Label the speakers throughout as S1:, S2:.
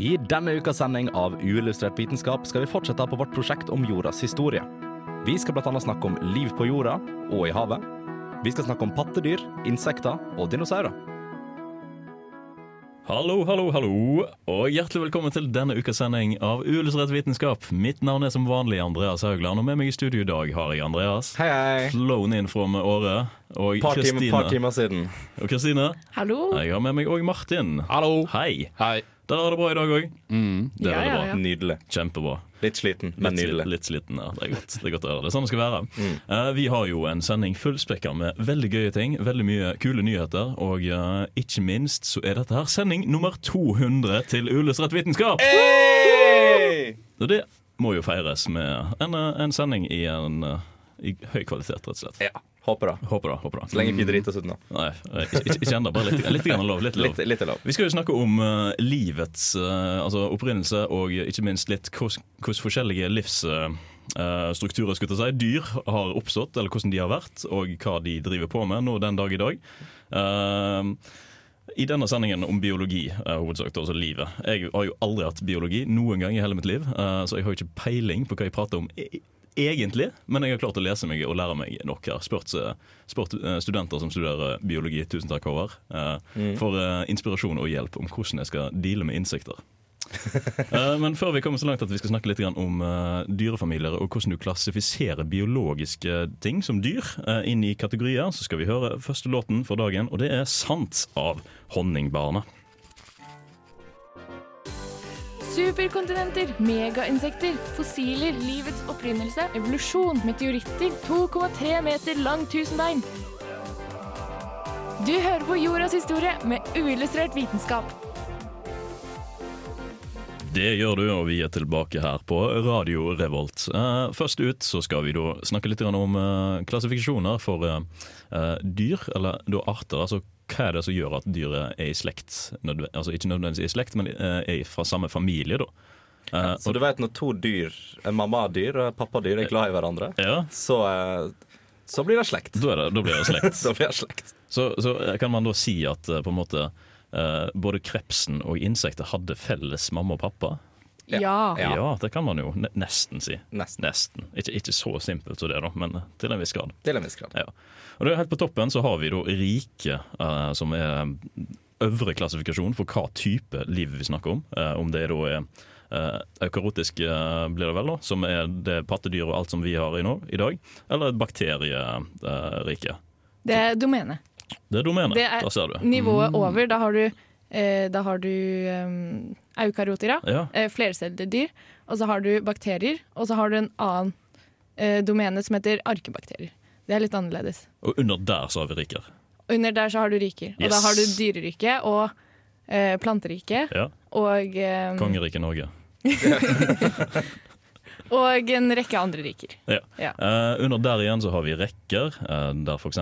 S1: I denne ukas sending av Uillustrert vitenskap skal vi fortsette på vårt prosjekt om jordas historie. Vi skal bl.a. snakke om liv på jorda og i havet. Vi skal snakke om pattedyr, insekter og dinosaurer.
S2: Hallo, hallo, hallo, og hjertelig velkommen til denne ukas sending av Uillustrert vitenskap. Mitt navn er som vanlig Andreas Haugland, og med meg i studio i dag har jeg Andreas.
S1: Hei, hei.
S2: Flown inn fra med året. Og
S1: Par timer, par
S2: Kristine.
S1: timer siden.
S2: Og Kristine.
S3: Hallo.
S2: Jeg har med meg òg Martin.
S4: Hallo.
S2: Hei.
S4: Hei.
S2: Dere har det bra i dag òg?
S3: Ja,
S2: Det er det
S3: ja,
S2: bra.
S3: ja.
S1: Nydelig.
S2: Kjempebra.
S1: Litt sliten, men
S2: Litt,
S1: nydelig. Mm.
S2: litt sliten, ja. Det er godt Det er godt å høre. Det er sånn det skal være. Eh, vi har jo en sending fullspekka med veldig gøye ting, veldig mye kule nyheter, og eh, ikke minst så er dette her sending nummer 200 til Uillustrert vitenskap!
S1: Hey!
S2: Og det må jo feires med en, eh, en sending i, en, eh, i høy kvalitet, rett og slett.
S1: Ja, håper det.
S2: Håper det. håper det
S1: Så lenge ikke vi driter oss ut nå.
S2: Nei, eh, ikke, ikke- ikke ennå. Bare litt, litt grann lov. Litt lov.
S1: Litt, litt er lov.
S2: Vi skal jo snakke om eh, livets eh, altså opprinnelse og ikke minst litt hvordan hvordan forskjellige livsstrukturer skulle jeg si, dyr har oppstått, eller hvordan de har vært, og hva de driver på med nå den dag i dag. Eh, I denne sendingen om biologi, uh, hovedsak altså livet. Jeg har jo aldri hatt biologi noen gang i hele mitt liv, eh, så jeg har jo ikke peiling på hva jeg prater om. e- Egentlig, men jeg har klart å lese meg og lære meg nok her. Spurt, eh, spurt eh, studenter som studerer biologi, tusen takk, Håvard, eh, for eh, inspirasjon og hjelp om hvordan jeg skal deale med insekter. Eh, Men før vi kommer så langt at vi skal snakke litt grann om eh, dyrefamilier og hvordan du klassifiserer biologiske ting som dyr eh, inn i kategorier, så skal vi høre første låten for dagen, og det er 'Sant' av Honningbarna.
S3: Superkontinenter, megainsekter, fossiler, livets opprinnelse, evolusjon, meteoritter, 2,3 meter lang tusenbein. Du hører på jordas historie med uillustrert vitenskap.
S2: Det gjør du, og vi er tilbake her på Radio Revolt. Eh, først ut så skal vi da snakke litt grann om eh, klassifikasjoner for eh, eh, dyr, eller da arter. altså hva er det som gjør at dyret er i slekt? Nødve altså Ikke nødvendigvis i slekt, men eh, er fra samme familie, da. Eh,
S1: Så
S2: og,
S1: du vet når to dyr, en mammadyr og et pappadyr, er glad i hverandre,
S2: ja,
S1: så, eh, så blir det slekt.
S2: da, er det, da blir det slekt.
S1: Så blir det slekt.
S2: Så, så kan man da si at eh, på en måte eh, både krepsen og insekter hadde felles mamma og pappa?
S1: Ja. Ja.
S2: Ja, det kan man jo ne nesten si.
S1: Nesten.
S2: Nesten. Ikke, ikke så simpelt som det, da, men eh, til en viss grad.
S1: Til en viss grad.
S2: Ja. Og det er Helt på toppen så har vi da rike, eh, som er øvre klassifikasjon for hva type liv vi snakker om. Eh, om det da er eh, eukarotisk, eh, blir det vel, da, som er det pattedyr og alt som vi har i, nå, i dag, eller bakterierike.
S3: Det er domenet.
S2: Det er domenet.
S3: Det er
S2: Der ser du.
S3: nivået over. Da har du, eh, da har du em, eukaryoter, ja.
S2: Ja,
S3: eh, flercellede dyr. Og så har du bakterier, og så har du en annen eh, domene som heter arkebakterier. Det er litt annerledes.
S2: Og under der så har vi riker.
S3: Under der så har du riker. Og da
S2: Yes.
S3: har du dyreriket og eh, planteriket
S2: Ja.
S3: og, eh,
S2: Kongeriket Norge.
S3: og en rekke andre riker.
S2: Ja.
S3: Ja.
S2: Eh, under der igjen så har vi rekker, eh, der f.eks.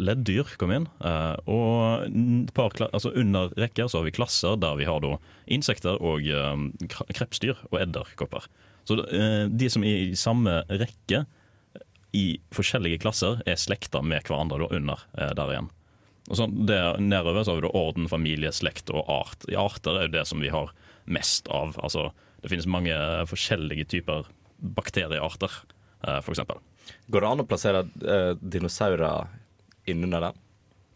S2: leddyr kom inn. Eh, og n- et par, kla- altså under rekker så har vi klasser der vi har da insekter og eh, kra- krepsdyr og edderkopper. Så eh, de som er i samme rekke i forskjellige klasser, er slekta med hverandre da under eh, der igjen. Og sånn, det, Nedover så har vi da orden, familie, slekt og art. I arter er jo det som vi har mest av. Altså, det finnes mange eh, forskjellige typer bakteriearter, eh, for eksempel.
S1: Går det an å plassere eh, dinosaurer innunder den?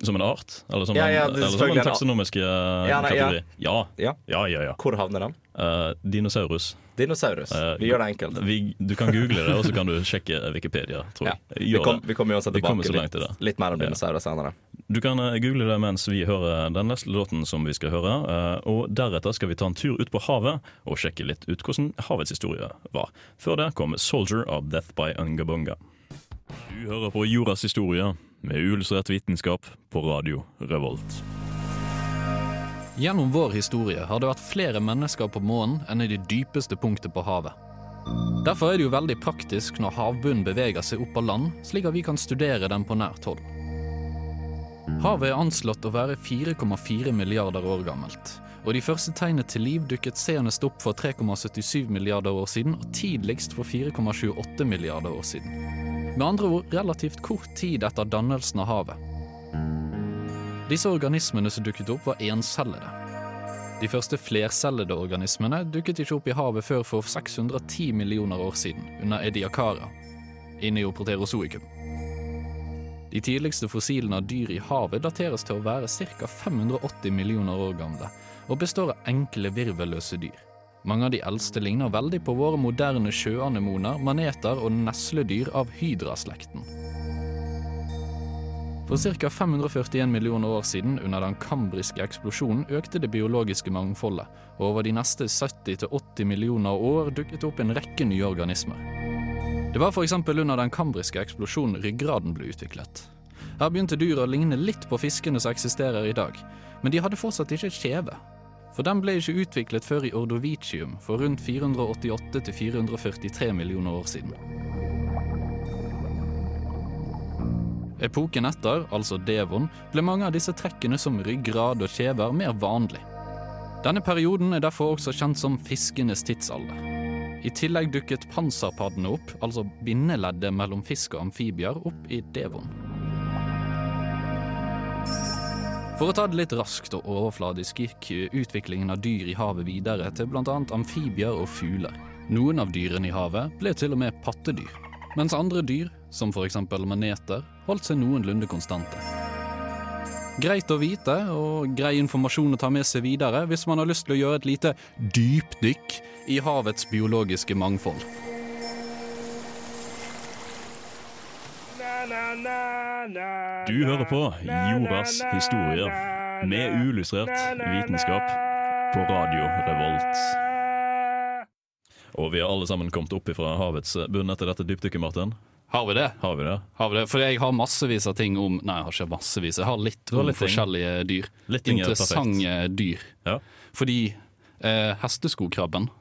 S2: Som en art? Eller som,
S1: Ja,
S2: en,
S1: ja, det er
S2: eller som
S1: selvfølgelig
S2: en
S1: en art.
S2: taksonomisk eh,
S1: Ja, nei, ja.
S2: kategori? Ja.
S1: Ja.
S2: Ja, ja, ja.
S1: Hvor havner den?
S2: Eh, dinosaurus.
S1: Dinosaurus.
S2: Eh,
S1: Vi gjør det enkelt.
S2: Vi, du kan google det, og så kan du sjekke Wikipedia, tror
S1: Ja.
S2: jeg.
S1: Vi,
S2: Gjør
S1: kom,
S2: det.
S1: vi kommer uansett
S2: Vi kommer
S1: tilbake
S2: så langt i
S1: litt,
S2: det.
S1: litt mer om
S2: Ja.
S1: dinosaurer senere.
S2: Du kan eh, google det mens vi hører den neste låten som vi skal høre. eh, Og deretter skal vi ta en tur ut på havet og sjekke litt ut hvordan havets historie var. Før det kom 'Soldier of Death by Ungabunga'. Du hører på Jordas historie med uillustrert vitenskap på radio Revolt.
S4: Gjennom vår historie har det vært flere mennesker på månen enn i det dypeste punktet på havet. Derfor er det jo veldig praktisk når havbunnen beveger seg opp av land, slik at vi kan studere den på nært hold. Havet er anslått å være 4,4 milliarder år gammelt, og de første tegnene til liv dukket senest opp for 3,77 milliarder år siden og tidligst for 4,28 milliarder år siden. Med andre ord relativt kort tid etter dannelsen av havet. Disse organismene som dukket opp, var encellede. De første flercellede organismene dukket ikke opp i havet før for 610 millioner år siden, under Ediacara, i neoproterozoikum. De tidligste fossilene av dyr i havet dateres til å være ca. 580 millioner år gamle, og består av enkle, virvelløse dyr. Mange av de eldste ligner veldig på våre moderne sjøanemoner, maneter og nesledyr av hydraslekten. For ca. 541 millioner år siden, under den kambriske eksplosjonen, økte det biologiske mangfoldet, og over de neste 70-80 millioner år dukket det opp en rekke nye organismer. Det var f.eks. under den kambriske eksplosjonen ryggraden ble utviklet. Her begynte dyr å ligne litt på fiskene som eksisterer i dag, men de hadde fortsatt ikke kjeve. For den ble ikke utviklet før i ordovicium for rundt 488-443 millioner år siden. Epoken etter, altså devon, ble mange av disse trekkene som ryggrad og kjever mer vanlig. Denne perioden er derfor også kjent som fiskenes tidsalder. I tillegg dukket panserpaddene opp, altså bindeleddet mellom fisk og amfibier, opp i devon. For å ta det litt raskt og overfladisk gikk utviklingen av dyr i havet videre til bl.a. amfibier og fugler. Noen av dyrene i havet ble til og med pattedyr, mens andre dyr, som f.eks. maneter, holdt seg noenlunde konstante. Greit å vite og grei informasjon å ta med seg videre hvis man har lyst til å gjøre et lite dypdykk i havets biologiske mangfold.
S2: Du hører på Jordas historier med uillustrert vitenskap på Radio Revolt. Og vi har alle sammen kommet opp ifra havets bunn etter dette dypdykket, Martin.
S4: Har vi det?
S2: Har vi det?
S4: Har vi det? For jeg har massevis av ting om Nei, jeg har ikke massevis. Jeg har litt om
S2: litt ting.
S4: forskjellige dyr.
S2: Litt ting er
S4: Interessante dyr.
S2: Ja.
S4: Fordi eh, hesteskokrabben,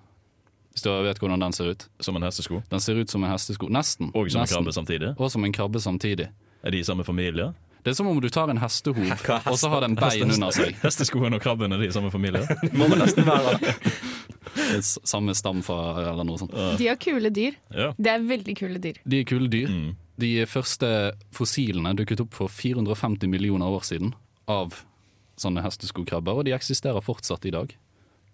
S4: hvis du vet hvordan den ser ut
S2: Som en hestesko.
S4: Den ser ut som en hestesko. Nesten.
S2: Og som en
S4: Nesten.
S2: krabbe samtidig.
S4: Og som en krabbe samtidig.
S2: Er de i samme familie?
S4: Det er som om du tar en hestehov, og så har den bein under seg.
S2: Hesteskoen og krabben er de i samme familie?
S4: Må vel nesten være S- Samme stam fra eller noe sånt.
S3: De har kule dyr.
S2: Ja.
S3: Det er veldig kule dyr.
S4: De er kule dyr.
S2: Mm.
S4: De første fossilene dukket opp for 450 millioner år siden av sånne hesteskokrabber, og de eksisterer fortsatt i dag.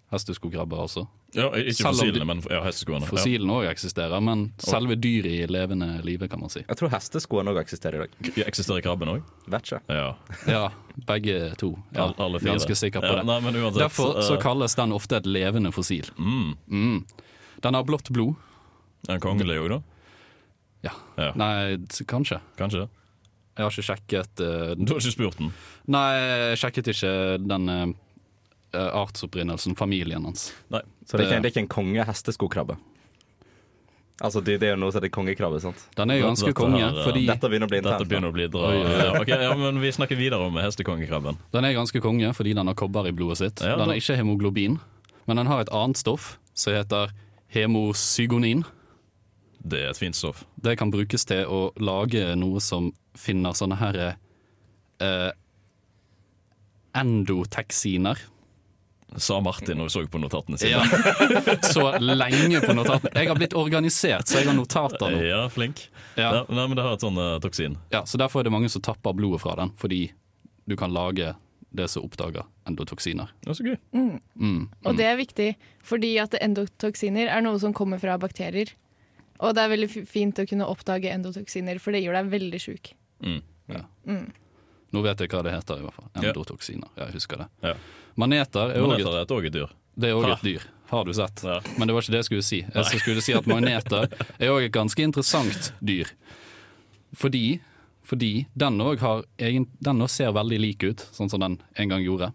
S4: Hesteskokrabber, altså.
S2: ja ikke
S4: Selv om de-
S2: fossilene, men ja, hesteskoene. Ja.
S4: Fossilene òg eksisterer, men selve dyret i levende live, kan man si.
S5: Jeg tror hesteskoene òg eksisterer i dag.
S2: Eksisterer krabben òg?
S5: Vet ikke.
S2: Ja.
S4: Ja, begge to. Ja,
S2: All- alle fire.
S4: ganske sikker på
S2: Ja,
S4: det.
S2: nei, men uansett,
S4: Derfor så
S2: eh,
S4: kalles den ofte et levende fossil. Mm. Den har blått blod.
S2: En kongelig òg, da?
S4: Ja.
S2: Ja.
S4: Nei, s- kanskje.
S2: Kanskje?
S4: Jeg har ikke sjekket eh,
S2: Du har ikke spurt den?
S4: Nei, jeg sjekket ikke den eh, artsopprinnelsen, familien hans.
S2: Nei.
S5: Så det er ikke, det er ikke en konge-hesteskokrabbe? Altså, det, det er jo noe som heter kongekrabbe, sant?
S4: Den er jo
S2: Dette
S4: ganske
S2: her,
S4: konge,
S2: eh,
S4: fordi,
S5: Dette begynner å bli
S2: Dette
S5: internt. da.
S2: begynner å bli dra...
S4: Oi, oi, oi.
S2: Ja, ok, ja, men vi snakker videre om hestekongekrabben.
S4: den er ganske konge fordi den har kobber i blodet sitt.
S2: Ja,
S4: den
S2: da-
S4: er ikke hemoglobin, men den har et annet stoff som heter hemosygonin.
S2: Det er et fint stoff.
S4: Det kan brukes til å lage noe som finner sånne her eh, endoteksiner.
S2: Sa Martin og så på notatene sine.
S4: Ja. Så lenge på notatene. Jeg har blitt organisert, så jeg har notater nå.
S2: Ja, flink.
S4: Ja.
S2: Ja, nei, men det har et sånn eh, toksin.
S4: Ja, så Derfor er det mange som tapper blodet fra den, fordi du kan lage det som oppdager endotoksiner.
S2: Det er så gøy.
S3: Og det er viktig, fordi at endotoksiner er noe som kommer fra bakterier. Og det er veldig fi- fint å kunne oppdage endotoksiner, for det gjør deg veldig sjuk.
S4: Nå vet jeg hva det heter, i hvert fall.
S2: Ja.
S4: Endotoksiner. Ja, jeg husker det.
S2: Ja.
S4: Maneter er
S2: Men
S4: også
S2: dette
S4: et,
S2: er et òg et dyr.
S4: det er også
S2: Ha.
S4: et dyr. Har du sett?
S2: Ja.
S4: Men det var ikke det jeg skulle si. Jeg skulle si at magneter er òg et ganske interessant dyr. Fordi, fordi den òg har egen, den også ser veldig lik ut, sånn som den en gang gjorde.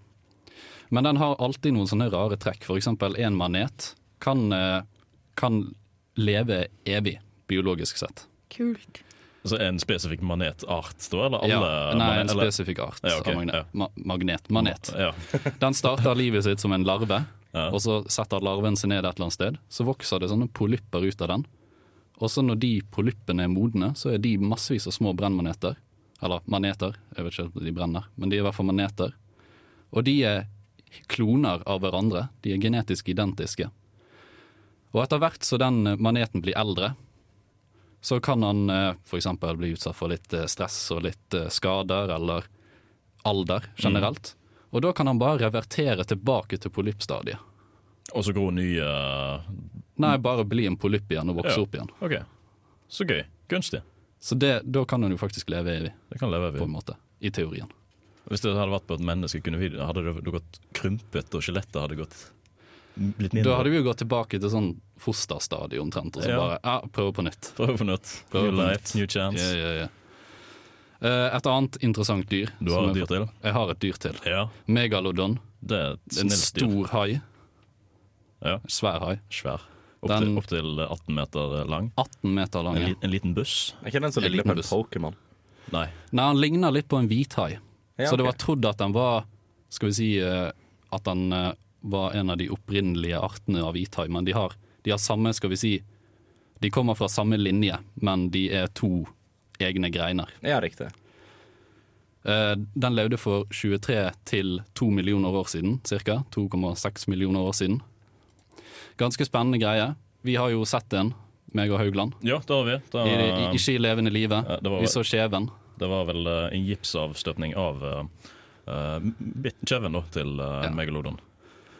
S4: Men den har alltid noen sånne rare trekk. For eksempel en manet kan, eh, kan leve evig, biologisk sett.
S3: Kult.
S2: Så Altså, en spesifikk manetart, da? Eller alle?
S4: Ja, nei, en
S2: manet- eller-
S4: spesifikk art
S2: Ja, ok,
S4: av magnet.
S2: ja.
S4: Ma magnet. Manet.
S2: Ja.
S4: Den starter livet sitt som en larve,
S2: Ja.
S4: og så setter larven seg ned et eller annet sted. Så vokser det sånne polypper ut av den. Og så når de polyppene er modne, så er de massevis av små brennmaneter. Eller maneter, jeg vet ikke om de brenner, men de er i hvert fall maneter. Og de er kloner av hverandre. De er genetisk identiske. Og etter hvert så den maneten blir eldre, så kan han eh, for eksempel
S2: Mm.
S4: bli utsatt for litt eh, stress og litt eh, skader eller alder generelt. Og da kan han bare revertere tilbake til polyppstadiet.
S2: Og så gror nye eh,
S4: Nei, bare bli en polypp igjen og vokse
S2: Ja.
S4: opp igjen.
S2: OK. Så gøy. Gunstig.
S4: Så det, da kan han jo faktisk leve evig,
S2: Det kan leve
S4: på
S2: evig.
S4: en måte. I teorien.
S2: Hvis det hadde vært på et menneske, kunne vi, hadde det det gått krympet, og skjelettet hadde gått blitt mindre.
S4: Da hadde vi jo gått tilbake til sånn fosterstadiet omtrent, og så
S2: Ja.
S4: bare ja, prøve på nytt.
S2: Prøve på nytt. New
S4: Prøve på
S2: life,
S4: nytt.
S2: new chance.
S4: Ja, ja, ja. Eh, Et annet interessant dyr.
S2: Du
S4: som
S2: har et
S4: jeg
S2: dyr til?
S4: Jeg har et dyr til.
S2: Ja.
S4: Megalodon.
S2: Det er et snilt
S4: En
S2: dyr.
S4: stor hai.
S2: Ja.
S4: Svær hai.
S2: Svær. Opp
S4: Den-
S2: til, opp til 18 meter lang.
S4: 18 meter lang.
S2: En, li, en liten buss?
S5: Er ikke den som
S4: En
S5: ligner på
S4: liten
S5: en
S4: buss.
S5: Pokémon?
S2: Nei.
S4: Nei, han ligner litt på en hvithai.
S5: Ja,
S4: Så det var
S5: ok.
S4: trodd at den var Skal vi si eh, at den eh, var en av de opprinnelige artene av hvithai, men de har, de har samme, skal vi si De kommer fra samme linje, men de er to egne greiner.
S5: Ja, riktig.
S4: Eh, Den levde for 23 til 2 millioner år siden, ca. 2,6 millioner år siden. Ganske spennende greie. Vi har jo sett en, meg og Haugland,
S2: Ja, det har vi. Det,
S4: i, i,
S2: er-
S4: ikke i levende live.
S2: Ja, det var-
S4: Vi så kjeven.
S2: det var vel eh, en gipsavstøpning av eh, eh, bit- kjeven da, til eh,
S4: Ja.
S2: megalodon.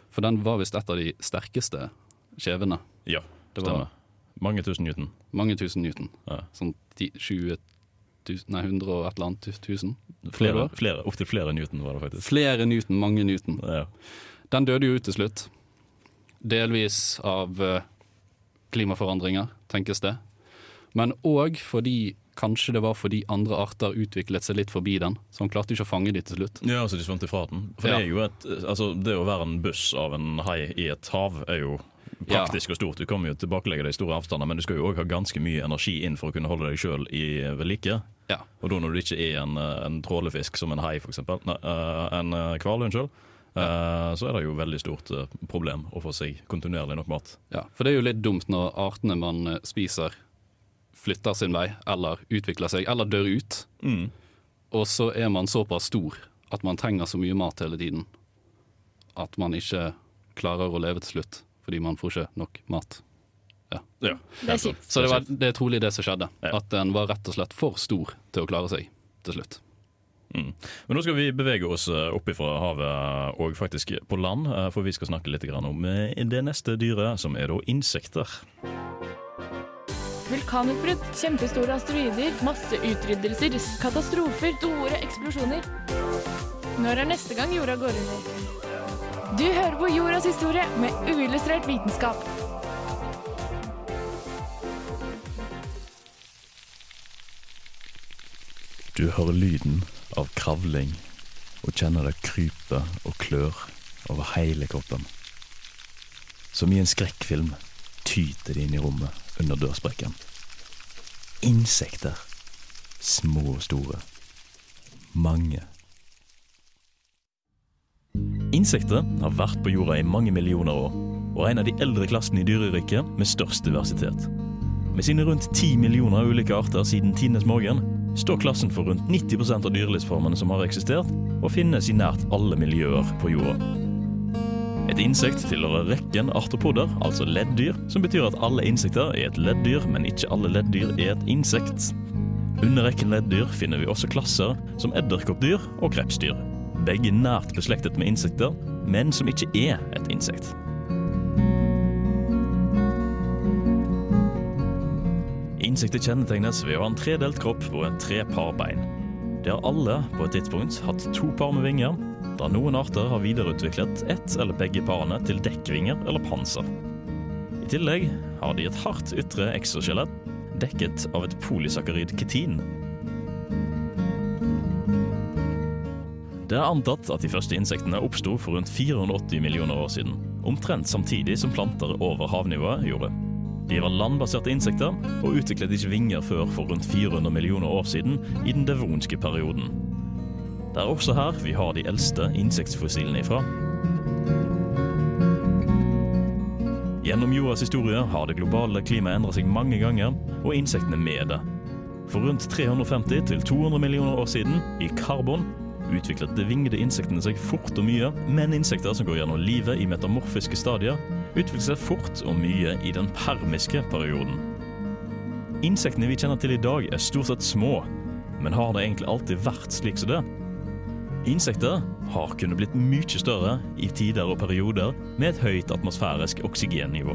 S4: For den var visst et av de sterkeste kjevene.
S2: Ja,
S4: Det
S2: stemmer.
S4: var
S2: Mange tusen newton.
S4: mange tusen newton.
S2: Ja.
S4: Sånn ti- 20 000, nei 100 og et eller annet tu- tusen.
S2: Flere,
S4: Tror du?
S2: flere, Opptil flere newton var det faktisk.
S4: Flere newton, mange newton.
S2: Ja.
S4: Den døde jo ut til slutt. Delvis av eh, klimaforandringer, tenkes det. Men òg fordi kanskje det var fordi andre arter utviklet seg litt forbi den. Så han klarte ikke å fange de til slutt.
S2: Ja, altså de svømte fra den. For
S4: Ja.
S2: det er jo et Altså, det å være en buss av en hai i et hav er jo praktisk og stort. Du kommer jo tilbakelegge deg i store avstander, men du skal jo òg ha ganske mye energi inn for å kunne holde deg sjøl ved like.
S4: Ja.
S2: Og da når du ikke er en, eh, en trålefisk som en hai, f.eks., en eh, hval, unnskyld, eh, så er det jo veldig stort eh, problem å få seg kontinuerlig nok mat.
S4: Ja, for det er jo litt dumt når artene man eh, spiser, flytter sin vei, eller utvikler seg, eller dør ut.
S2: Mm.
S4: Og så er man såpass stor at man trenger så mye mat hele tiden at man ikke klarer å leve til slutt, fordi man får ikke nok mat.
S2: Ja,
S3: Det er kjipt.
S4: Så det, var, det er trolig det som skjedde,
S2: Ja.
S4: at den var rett og slett for stor til å klare seg til slutt.
S2: Men nå skal vi bevege oss eh, opp ifra havet og faktisk på land, eh, for vi skal snakke litt grann om eh, det neste dyret, som er da insekter.
S3: Vulkanutbrudd, kjempestore asteroider, masseutryddelser, katastrofer, store eksplosjoner. Når er neste gang jorda går under? Du hører på Jordas historie med uillustrert vitenskap.
S2: Du hører lyden av kravling og kjenner det krype og klør over hele kroppen. Som i en skrekkfilm tyter det inn i rommet under dørsprekken. Insekter. Små og store. Mange. Insekter har vært på jorda i mange millioner år, og er en av de eldre klassene i dyreriket med størst diversitet. Med sine rundt 10 millioner ulike arter siden tidenes morgen, står klassen for rundt 90 av dyrelivsformene som har eksistert, og finnes i nært alle miljøer på jorda. Et insekt tilhører rekken artopoder, altså leddyr, som betyr at alle insekter er et leddyr, men ikke alle leddyr er et insekt. Under rekken leddyr finner vi også klasser som edderkoppdyr og krepsdyr. Begge nært beslektet med insekter, men som ikke er et insekt. Insekter kjennetegnes ved å ha en tredelt kropp og en tre par bein. De har alle på et tidspunkt hatt to par med vinger, da noen arter har videreutviklet ett eller begge parene til dekkvinger eller panser. I tillegg har de et hardt ytre eksoskjelett dekket av et polysakkarid ketin. Det er antatt at de første insektene oppsto for rundt 480 millioner år siden, omtrent samtidig som planter over havnivået gjorde. De var landbaserte insekter og utviklet ikke vinger før for rundt 400 millioner år siden i den devonske perioden. Det er også her vi har de eldste insektfossilene ifra. Gjennom jordas historie har det globale klimaet endret seg mange ganger, og insektene med det. For rundt 350 til 200 millioner år siden, i karbon, utviklet de vingede insektene seg fort og mye, men insekter som går gjennom livet i metamorfiske stadier, utviklet seg fort og mye i den permiske perioden. Insektene vi kjenner til i dag er stort sett små, men har det egentlig alltid vært slik som det? Insekter har kunnet blitt mye større i tider og perioder med et høyt atmosfærisk oksygennivå.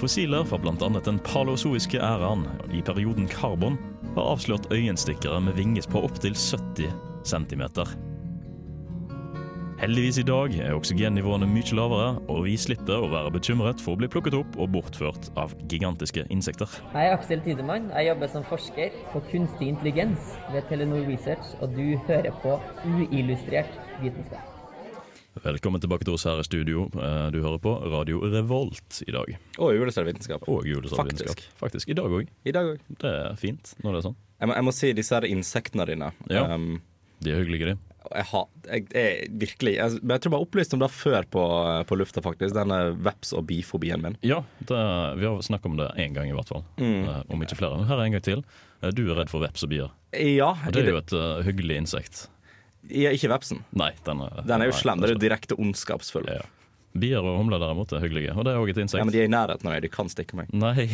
S2: Fossiler fra bl.a. den paleozoiske æraen i perioden karbon har avslørt øyenstikkere med vinges på opptil 70 cm. Heldigvis i dag er oksygennivåene mye lavere, og vi slipper å være bekymret for å bli plukket opp og bortført av gigantiske insekter.
S6: Jeg er Aksel Tidemann. Jeg jobber som forsker på kunstig intelligens ved Telenor Research, og du hører på uillustrert vitenskap.
S2: Velkommen tilbake til oss her i studio. Eh, Du hører på Radio Revolt i dag.
S5: Og uillustrert vitenskap.
S2: Og Julesavvitenskap.
S5: Faktisk.
S2: Faktisk. I dag òg.
S5: I dag òg.
S2: Det er fint når det er sånn.
S5: Jeg, må- jeg må si disse her insektene dine.
S2: Ja.
S5: Um,
S2: De er hyggelige, de.
S5: jeg, har, jeg, jeg, virkelig, jeg, men jeg tror jeg har opplyst om det før på, på lufta, faktisk. Denne veps- og bifobien min.
S2: Ja, det, vi har snakket om det én gang i hvert fall.
S5: Mm.
S2: Eh, Om ikke flere. Men her er en gang til. Eh, Du er redd for veps og bier.
S5: Ja,
S2: Og det er jo et eh, hyggelig insekt.
S5: ja ikke vepsen.
S2: Nei, den er,
S5: Den er jo
S2: nei,
S5: slem. Det er jo
S2: slem.
S5: direkte ondskapsfull.
S2: Ja. Bier og humler derimot er hyggelige, og det er òg et insekt.
S5: Ja, men de er i nærheten av meg. De kan stikke meg.
S2: Nei.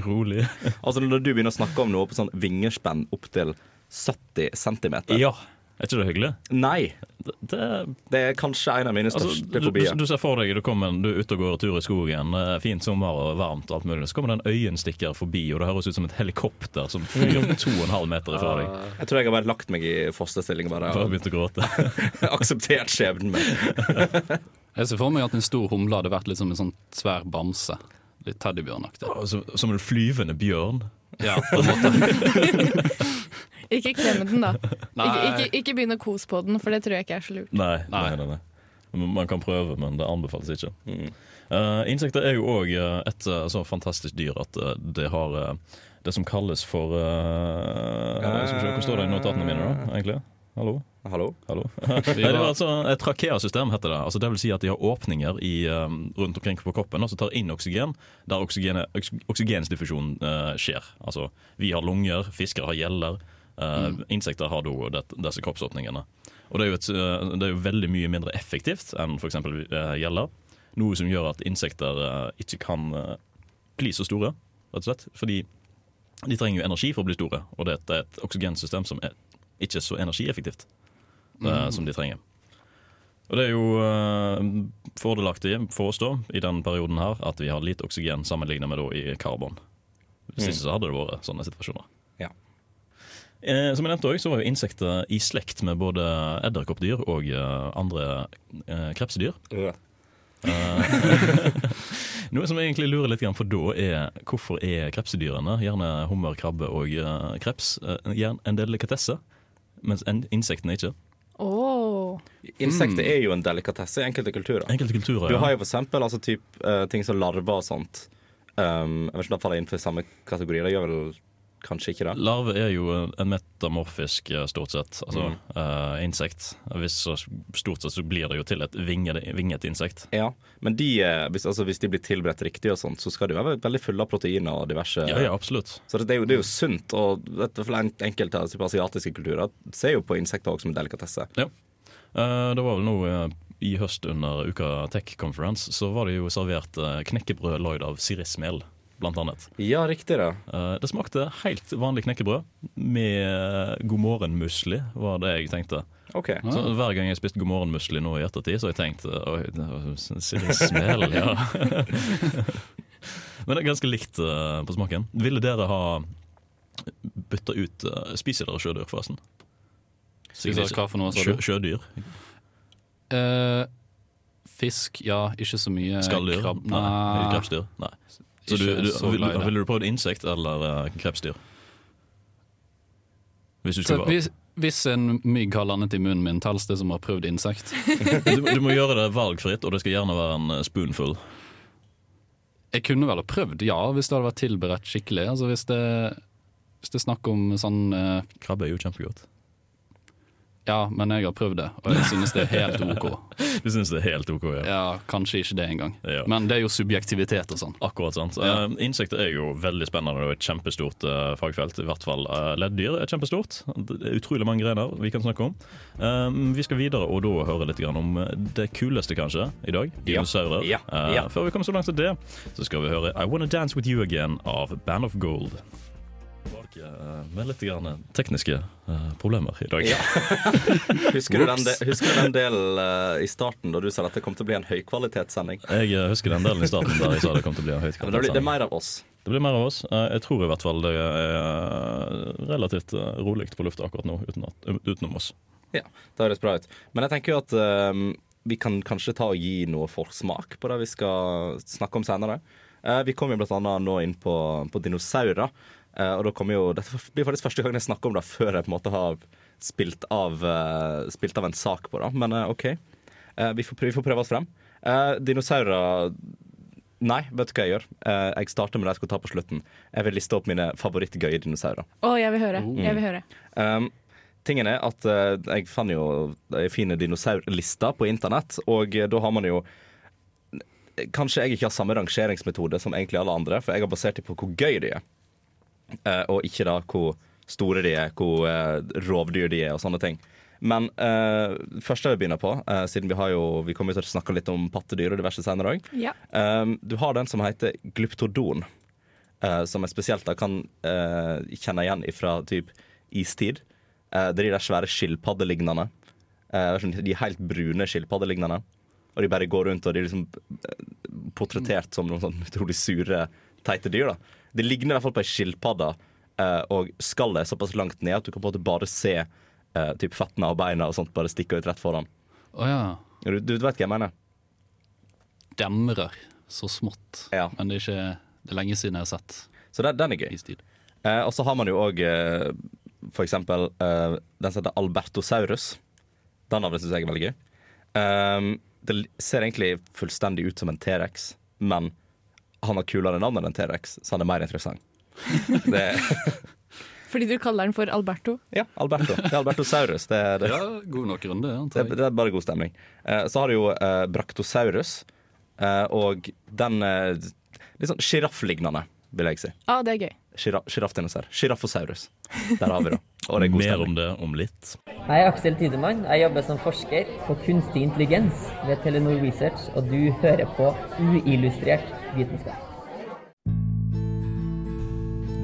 S2: Rolig.
S5: Altså Når du begynner å snakke om noe på sånn vingespenn opp til 70 cm
S2: Ja. Er ikke det hyggelig?
S5: Nei!
S2: Det, det er
S5: Det er kanskje en av mine
S2: Altså,
S5: største
S2: du, du,
S5: fobier.
S2: du ser for deg du, kommer, du er ute og går tur i skogen, det er fint sommer og varmt, og alt mulig. så kommer det en øyenstikker forbi, og det høres ut som et helikopter som flyr 2,5 meter ifra deg.
S5: Jeg tror jeg har bare lagt meg i fosterstilling og bare
S2: Bare begynte å gråte.
S5: akseptert skjebnen min.
S4: Jeg ser for meg at en stor humle hadde vært litt som en sånn svær bamse. Litt teddybjørnaktig.
S2: Som, som en flyvende bjørn.
S4: Ja, på en måte.
S3: Ikke klem den, da. Ikke,
S4: Nei.
S3: ikke, ikke begynn å kose på den, for det tror jeg ikke er så lurt.
S2: Nei, nei,
S4: Nei.
S2: nei. nei. Man kan prøve, men det anbefales ikke. Eh, insekter er jo òg et eh, så fantastisk dyr at eh, det har eh, det som kalles for eh, Skal vi se, Hvor står det i notatene mine, da? egentlig? Hallo?
S5: Hallo?
S2: Hallo. Nei, det var altså et trakeasystem, heter det. Altså, det vil si at de har åpninger i, um, rundt omkring på kroppen og så tar inn oksygen der oksygenet- oks- oksygensdiffusjon eh, skjer. Altså, vi har lunger, fiskere har gjeller, eh, insekter har da det, disse kroppsåpningene. Og det er, jo et, eh, det er jo veldig mye mindre effektivt enn f.eks. Uh, gjeller. Noe som gjør at insekter eh, ikke kan eh, bli så store, rett og slett. Fordi de trenger jo energi for å bli store, og det er et oksygensystem som er ikke så energieffektivt
S5: Mm.
S2: eh, som de trenger. Og det er jo eh, fordelaktig for oss da, i den perioden her, at vi har litt oksygen sammenlignet med da i karbon. Hvis ikke så hadde det vært sånne situasjoner.
S5: Ja.
S2: Eh, som jeg nevnte også, så var jo insekter i slekt med både edderkoppdyr og eh, andre eh, krepsedyr. Noe som jeg egentlig lurer litt grann på da, er hvorfor er krepsedyrene, gjerne hummer, krabbe og eh, kreps, eh, gjerne en delikatesse, mens en insektene ikke?
S3: Åh.
S5: Insekter er jo en delikatesse i enkelte kulturer.
S2: Enkelte kulturer
S5: Du har jo for eksempel altså, typ, eh, ting som larver og sånt. Um, jeg vet ikke om det faller innenfor samme kategori. Det gjør vel kanskje ikke det.
S2: Larve er jo en metamorfisk, eh, stort sett. Altså eh, insekt. Hvis så stort sett så blir det jo til et vinget, vinget insekt.
S5: Ja, Men de, eh, hvis, altså, hvis de blir tilberedt riktig, og sånt, så skal de jo være veldig fulle av proteiner og diverse
S2: Ja, ja, absolutt.
S5: Så det er, jo, det er jo sunt, og dette for en- enkelte av typ asiatiske kulturer ser jo på insekter også som en delikatesse.
S2: Ja. Eh, det var vel nå eh, i høst under Uka Tech Conference, så var det jo servert eh, knekkebrød lagd av sirismel, blant annet.
S5: Ja, riktig det.
S2: Eh, det smakte helt vanlig knekkebrød med eh, god morgen-musli, var det jeg tenkte.
S5: Ok.
S2: Så Hver gang jeg spiste god morgen-musli nå i ettertid, så har jeg tenkt Oi, det var sirismel, ja. Men det er ganske likt eh, på smaken. Ville dere ha bytta ut eh, Spiser dere sjødyr, forresten?
S4: Spiser dere hva for noe, sa
S2: Sjø,
S4: du?
S2: sjødyr?
S4: Eh, fisk, ja. Ikke så mye.
S2: Skalldyr?
S4: Krabb,
S2: nei.
S4: nei.
S2: Krepsdyr? Nei. Så du,
S4: Ikke
S2: du,
S4: så
S2: ville,
S4: glad i det.
S2: ville du prøvd insekt eller eh, krepsdyr? Hvis du
S4: Så
S2: skulle valgt.
S4: hvis, hvis en mygg har landet i munnen min, telles det som har prøvd insekt?
S2: Du, du må gjøre det valgfritt, og det skal gjerne være en eh, spoonful.
S4: Jeg kunne vel ha prøvd, ja, hvis det hadde vært tilberedt skikkelig. Altså hvis det, hvis det er snakk om sånn eh,
S2: Krabbe er jo kjempegodt.
S4: Ja, men jeg har prøvd det, og jeg synes det er helt OK.
S2: Du syns det er helt OK? Ja.
S4: Ja, kanskje ikke det engang.
S2: Ja.
S4: Men det er jo subjektivitet og sånn.
S2: Akkurat sant.
S4: Ja.
S2: Eh, Insekter er jo veldig spennende og et kjempestort eh, fagfelt. I hvert fall uh, ledddyr er kjempestort. Det er utrolig mange grener vi kan snakke om. Eh, vi skal videre og da høre litt grann om eh, det kuleste, kanskje, i dag.
S5: Ja.
S2: Dinosaurer.
S5: Ja.
S2: Eh,
S5: Ja.
S2: før vi kommer så langt til det, så skal vi høre I Wanna Dance With You Again av Band of Gold. tilbake eh, med litt grann eh, tekniske eh, problemer i dag.
S5: Husker du den, de, husker du den delen eh, i starten da du sa at det kom til å bli en høykvalitetssending?
S2: Jeg eh, husker den delen i starten der jeg sa det kom til å bli en høyt
S5: Men Det blir, det er mer av oss.
S2: Det blir mer av oss. Eh, Jeg tror i hvert fall det er relativt eh, rolig på lufta akkurat nå, uten at, um, utenom oss.
S5: Ja, det høres bra ut. Men jeg tenker jo at ehm, vi kan kanskje ta og gi noe for smak på det vi skal snakke om senere. Eh, vi kom jo blant annet nå inn på, på dinosaurer. eh, og da kommer jo, Dette blir faktisk første gang jeg snakker om det før jeg på en måte har spilt av, eh, spilt av en sak på det. Men eh, OK, Eh, vi, får prøve, vi får prøve oss frem. Eh, dinosaurer Nei, vet du hva jeg gjør? Eh, jeg starter med det jeg skal ta på slutten. Jeg vil liste opp mine favorittgøye dinosaurer.
S3: Å, jeg vil høre. Jeg vil høre.
S5: Um, tingen er at eh, jeg fant jo ei fin dinosaurliste på internett, og eh, da har man jo Kanskje jeg ikke har samme rangeringsmetode som egentlig alle andre, for jeg har basert det på hvor gøy de er, eh, og ikke da hvor store de er, hvor eh, rovdyr de er, og sånne ting. Men uh, først jeg vil begynne på, eh, siden vi har jo Vi kommer jo til å snakke litt om pattedyr og diverse senere òg.
S3: Ja.
S5: Um, du har den som heter glyptodon, eh, som jeg spesielt da kan eh, kjenne igjen fra typ istid. Eh, det er de der svære skilpaddelignende. Eh, sånn- de helt brune skilpaddelignende. Og de bare går rundt og de er liksom eh, portrettert som noen sånn utrolig sure, teite dyr. da De ligner i hvert fall på ei skilpadde, eh, og skallet er såpass langt ned at du kan på en måte bare se eh, typ føttene og beina og sånt bare stikke ut rett foran.
S4: Å ja.
S5: Du, du vet hva jeg mener?
S4: Demrer så smått.
S5: Ja.
S4: Men det er ikke det er lenge siden jeg har sett
S5: Så den, den er gøy.
S4: istid.
S5: Eh, og så har man jo òg eh, for eksempel eh, den som heter Albertosaurus. Den navnet syns jeg er veldig gøy. Ehm, det l- ser egentlig fullstendig ut som en T-rex, men han har kulere navn enn en T-rex, så han er mer interessant. Det,
S3: Fordi du kaller den for Alberto.
S5: ja, Alberto. Det er Albertosaurus. Det, er- det,
S4: Ja, god nok runde,
S5: det,
S4: antar
S5: er-
S4: jeg.
S5: det er bare god stemning. Eh, så har du jo eh, Bractosaurus, eh, og den eh, litt sånn sjirafflignende, vil jeg si.
S3: Ja, det er gøy.
S5: Sjiraffdinosaur. Sjiraffosaurus. Der har vi det. Og det er god
S2: Mer
S5: stemning.
S2: om det om litt.
S6: Jeg er Aksel Tidemann. Jeg jobber som forsker på kunstig intelligens ved Telenor Research, og du hører på uillustrert vitenskap.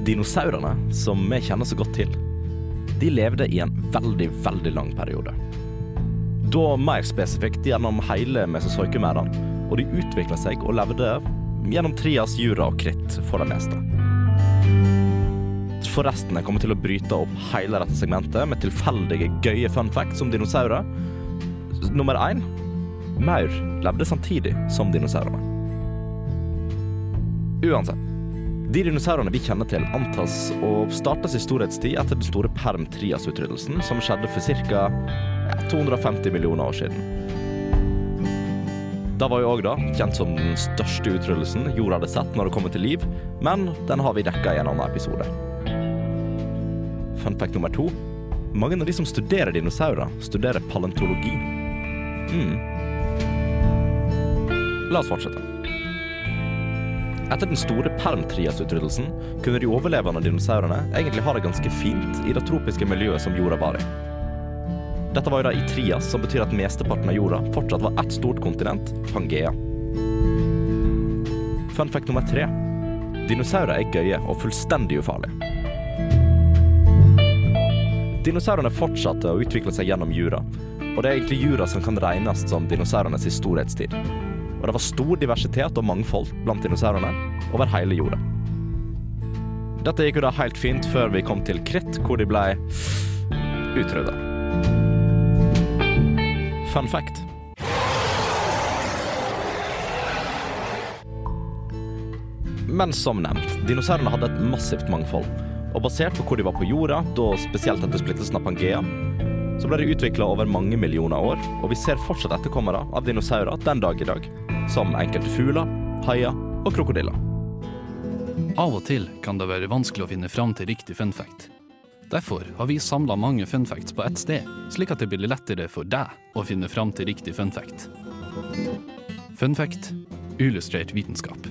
S5: Dinosaurene, som vi kjenner så godt til, de levde i en veldig, veldig lang periode. Da mer spesifikt gjennom hele mesozoikumæren, og de utvikla seg og levde gjennom Trias, Jura og Kritt for det meste. Forresten, jeg kommer til å bryte opp hele dette segmentet med tilfeldige, gøye fun facts om dinosaurer. Nummer én maur levde samtidig som dinosaurene. Uansett. De dinosaurene vi kjenner til, antas å starte sin storhetstid etter den store perm-trias-utryddelsen, som skjedde for ca. 250 millioner år siden. Da var jo òg da kjent som den største utryddelsen jorda hadde sett når det kommer til liv, men den har vi dekka i en annen episode. Fun fact nummer to. Mange av de som studerer dinosaurer, studerer palentologi. Mm. La oss fortsette. Etter den store permtrias-utryddelsen kunne de overlevende dinosaurene egentlig ha det ganske fint i det tropiske miljøet som jorda var i. Dette var jo da i trias, som betyr at mesteparten av jorda fortsatt var ett stort kontinent, Pangea. Fun fact nummer tre. Dinosaurer er gøye og fullstendig ufarlige. Dinosaurene fortsatte å utvikle seg gjennom jura, og det er egentlig jura som kan regnes som dinosaurenes storhetstid og det var stor diversitet og mangfold blant dinosaurene over hele jorda. Dette gikk jo da helt fint før vi kom til kritt, hvor de ble utrydda. Fun fact. Men som nevnt, dinosaurene hadde et massivt mangfold. Og basert på hvor de var på jorda, da spesielt etter splittelsen av Pangea, så ble det utvikla over mange millioner år, og vi ser fortsatt etterkommere av dinosaurer den dag i dag. Som enkelte fugler, haier og krokodiller.
S4: Av og til kan det være vanskelig å finne fram til riktig fun fact. Derfor har vi samla mange fun facts på ett sted, slik at det blir lettere for deg å finne fram til riktig fun fact. Fun fact illustrert vitenskap.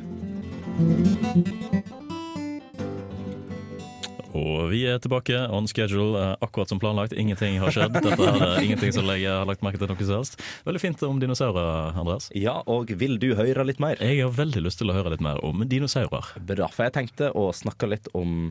S2: Og vi er tilbake on schedule, eh, akkurat som planlagt. Ingenting har skjedd. Dette er eh, ingenting som jeg har lagt merke til noe som helst. Veldig fint om dinosaurer, Andreas.
S5: Ja, og vil du høre litt mer?
S2: Jeg har veldig lyst til å høre litt mer om dinosaurer.
S5: Bra, for jeg tenkte å snakke litt om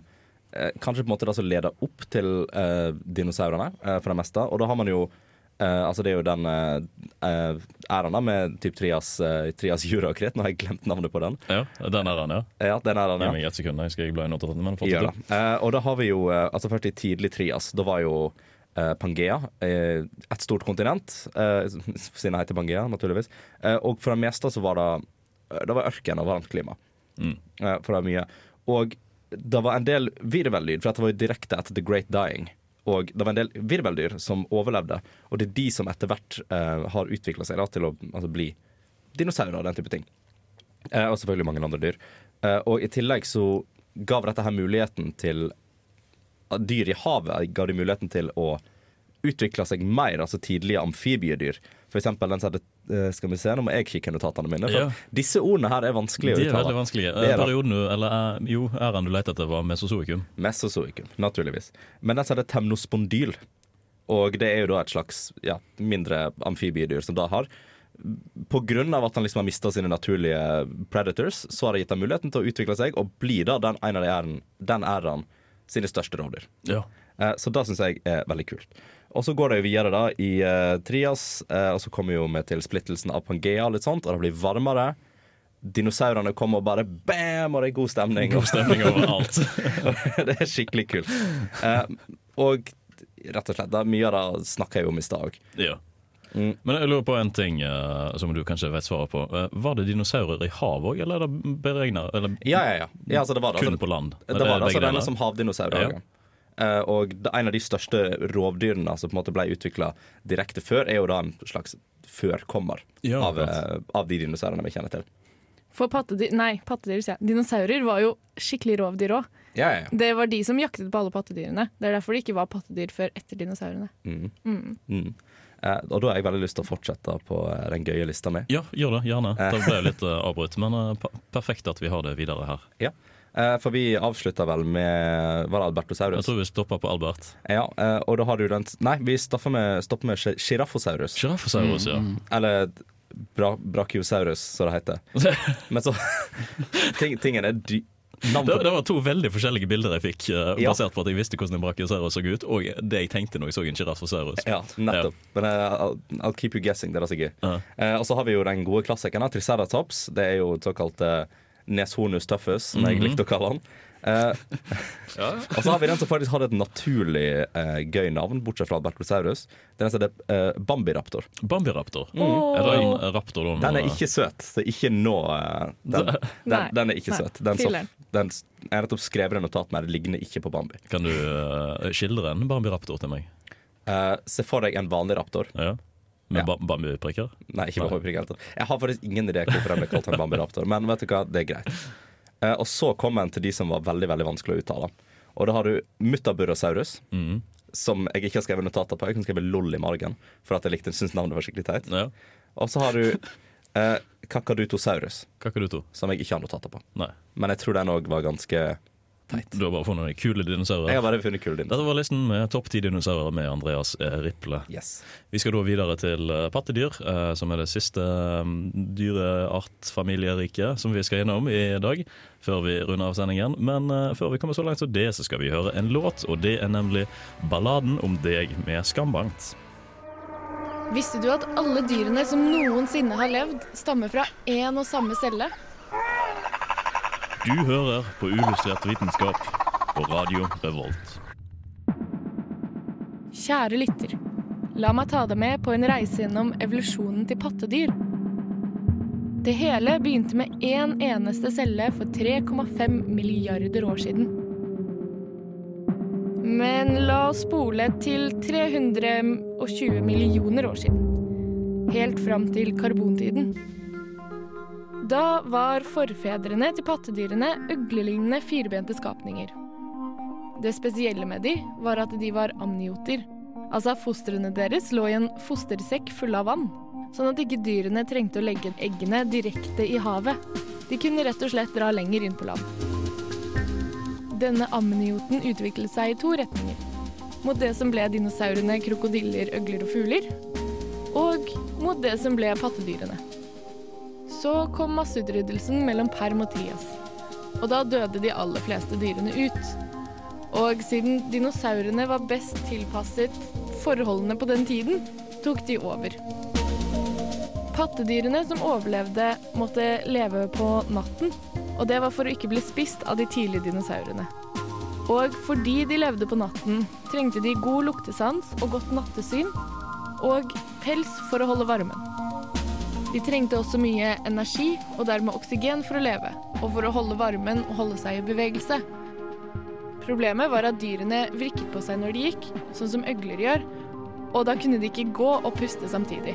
S5: eh, kanskje på en måte det som leder opp til eh, dinosaurene, eh, for det meste. Og da har man jo eh, Altså, det er jo den eh, eh, æraen da med typ Trias, eh, trias jura og kret. Nå har jeg glemt navnet på den.
S2: Ja, den er han, ja.
S5: Ja, den æraen,
S2: Gi
S5: ja.
S2: meg ett sekund, jeg skal bla i notatene. Men
S5: Gjør
S2: fortsett.
S5: det. Eh, og da har vi jo eh, altså Først i tidlig trias. Da var jo eh, Pangea eh, et stort kontinent, eh, siden det heter Pangea, naturligvis. Eh, og for det meste så var det, eh, det var ørken og varmt klima.
S2: Mm.
S5: Eh, for det er mye. Og det var en del virvellyd, for dette var jo direkte etter The Great Dying. Og det var en del virveldyr som overlevde, og det er de som etter hvert eh, har utvikla seg da, til å altså, bli dinosaurer og den type ting. Eh, og selvfølgelig mange andre dyr. Eh, og i tillegg så gav dette her muligheten til at Dyr i havet ga de muligheten til å utvikle seg mer, altså tidlige amfibiedyr. For eksempel den som heter eh, Skal vi se, nå må jeg kikke i notatene mine. For
S2: Ja.
S5: at disse ordene her er
S2: De
S5: vanskelige å
S2: er
S5: uttale.
S2: veldig vanskelige.
S5: Det er det.
S2: Perioden du, eller eh, jo, æraen du lette etter, var mesozoikum.
S5: Mesozoikum, naturligvis. Men den som heter temnospondyl. Og det er jo da et slags ja, mindre amfibiedyr som da har. På grunn av at han liksom har mista sine naturlige predators, så har det gitt ham muligheten til å utvikle seg og bli da den en av de æren, den æren sine største rovdyr.
S2: Ja.
S5: Eh, Så det syns jeg er veldig kult. Og så går det jo videre da i eh, Trias, eh, og så kommer jo vi til splittelsen av Pangea, og litt sånt, og det blir varmere. Dinosaurene kommer og bare bam, og det er god stemning.
S2: God stemning overalt.
S5: det er skikkelig kult. Eh, og rett og slett, det er mye av det snakker jeg om i stad òg.
S2: ja. Men jeg lurer på en ting eh, som du kanskje vet svaret på. Eh, var det dinosaurer i havet òg, eller er det beregna eller
S5: Ja, ja, ja. ja altså, det var det.
S2: kun
S5: Altså,
S2: på land?
S5: det
S2: Eh,
S5: var det, altså,
S2: begge
S5: det ene
S2: deler?
S5: som havdinosaurer.
S2: Ja.
S5: Ja. Eh, og det, en av de største rovdyrene som på en måte ble utvikla direkte før, er jo da en slags førkommer
S2: Ja,
S5: av, eh, av de dinosaurene vi kjenner til.
S3: For pattedyr Nei, pattedyr, sier jeg. Dinosaurer var jo skikkelig rovdyr òg.
S5: Ja, ja, ja.
S3: Det var de som jaktet på alle pattedyrene. Det er derfor det ikke var pattedyr før etter dinosaurene.
S5: Mm. Eh, og da har jeg veldig lyst til å fortsette på eh, den gøye lista mi.
S2: Ja, gjør det. Gjerne. Det ble jo litt eh, avbrutt, men eh, per- perfekt at vi har det videre her.
S5: Ja. Eh, for vi avslutta vel med Var det Albertosaurus?
S2: Jeg tror vi stopper på Albert.
S5: Ja, eh, og da har du den Nei, vi stopper med, stopper med gi- Giraffosaurus.
S2: Sjiraffosaurus, ja.
S5: Mm, Eller bra, Brachiosaurus, som det heter. Men så ting, Tingen er dy... Navn
S2: Det, det
S5: på
S2: var to veldig forskjellige bilder jeg fikk, eh,
S5: Ja.
S2: basert på at jeg visste hvordan en brachiosaurus så ut, og det jeg tenkte når jeg så en sjiraffosaurus.
S5: Ja, nettopp. Men eh, I'll, I'll keep you guessing. Det er det som er gøy.
S2: Ja.
S5: Eh, og så har vi jo den gode klassikeren, da, Triceratops. Det er jo såkalt eh, Neshornus tuffus, som
S2: Mhm.
S5: jeg likte å kalle han. Eh, og så har vi den som faktisk hadde et naturlig eh, gøy navn, bortsett fra Albertosaurus. Det er den som heter eh, Bambiraptor.
S2: Bambiraptor. Er det en raptor da?
S5: Mm.
S2: med-
S5: Den er ikke søt, så ikke nå eh, Den, den,
S3: Nei.
S5: den er ikke
S3: Nei.
S5: søt. Den, så,
S3: Filler'n.
S5: den s- jeg har nettopp skrevet en notat med det ligner ikke på Bambi.
S2: Kan du eh, skildre en bambiraptor til meg?
S5: Eh, se for deg en vanlig raptor.
S2: Ja. Med
S5: Ja.
S2: ba bambiprikker?
S5: Nei, ikke
S2: Nei.
S5: Bambi helt. Jeg har faktisk ingen idé hvorfor den ble kalt en Bambi raptor, men vet du hva, det er greit. Eh, og så kom en til de som var veldig veldig vanskelig å uttale. Og da har du Mutaburosaurus, som jeg ikke har skrevet notater på. Jeg kunne skrevet LOL i margen, for at jeg likte syntes navnet var skikkelig teit.
S2: Ja.
S5: Og så har du eh, Kakadutosaurus,
S2: Kakaduto?
S5: som jeg ikke har notater på.
S2: Nei.
S5: Men jeg tror den òg var ganske
S2: Du har bare funnet noen kule dinosaurer.
S5: Jeg har bare funnet kulen din.
S2: Dette var listen med topp ti dinosaurer med Andreas eh, Riple.
S5: Yes.
S2: Vi skal da videre til eh, pattedyr, eh, som er det siste mm, dyreartfamilieriket som vi skal gjennom i dag, før vi runder av sendingen. Men eh, før vi kommer så langt som det, så skal vi høre en låt, og det er nemlig 'Balladen om deg' med Skambankt.
S3: Visste du at alle dyrene som noensinne har levd, stammer fra én og samme celle?
S2: Du hører på Uillustrert vitenskap på Radio Revolt.
S3: Kjære lytter, la meg ta deg med på en reise gjennom evolusjonen til pattedyr. Det hele begynte med én eneste celle for 3,5 milliarder år siden. Men la oss spole til 320 millioner år siden. Helt fram til karbontiden. Da var forfedrene til pattedyrene uglelignende firbente skapninger. Det spesielle med de var at de var amnioter. Altså fostrene deres lå i en fostersekk full av vann, sånn at ikke dyrene trengte å legge eggene direkte i havet. De kunne rett og slett dra lenger inn på land. Denne amnioten utviklet seg i to retninger. Mot det som ble dinosaurene, krokodiller, øgler og fugler. Og mot det som ble pattedyrene. Så kom masseutryddelsen mellom perm og trias. Og da døde de aller fleste dyrene ut. Og siden dinosaurene var best tilpasset forholdene på den tiden, tok de over. Pattedyrene som overlevde, måtte leve på natten, og det var for å ikke bli spist av de tidlige dinosaurene. Og fordi de levde på natten, trengte de god luktesans og godt nattesyn, og pels for å holde varmen. De trengte også mye energi, og dermed oksygen for å leve, og for å holde varmen og holde seg i bevegelse. Problemet var at dyrene vrikket på seg når de gikk, sånn som øgler gjør, og da kunne de ikke gå og puste samtidig.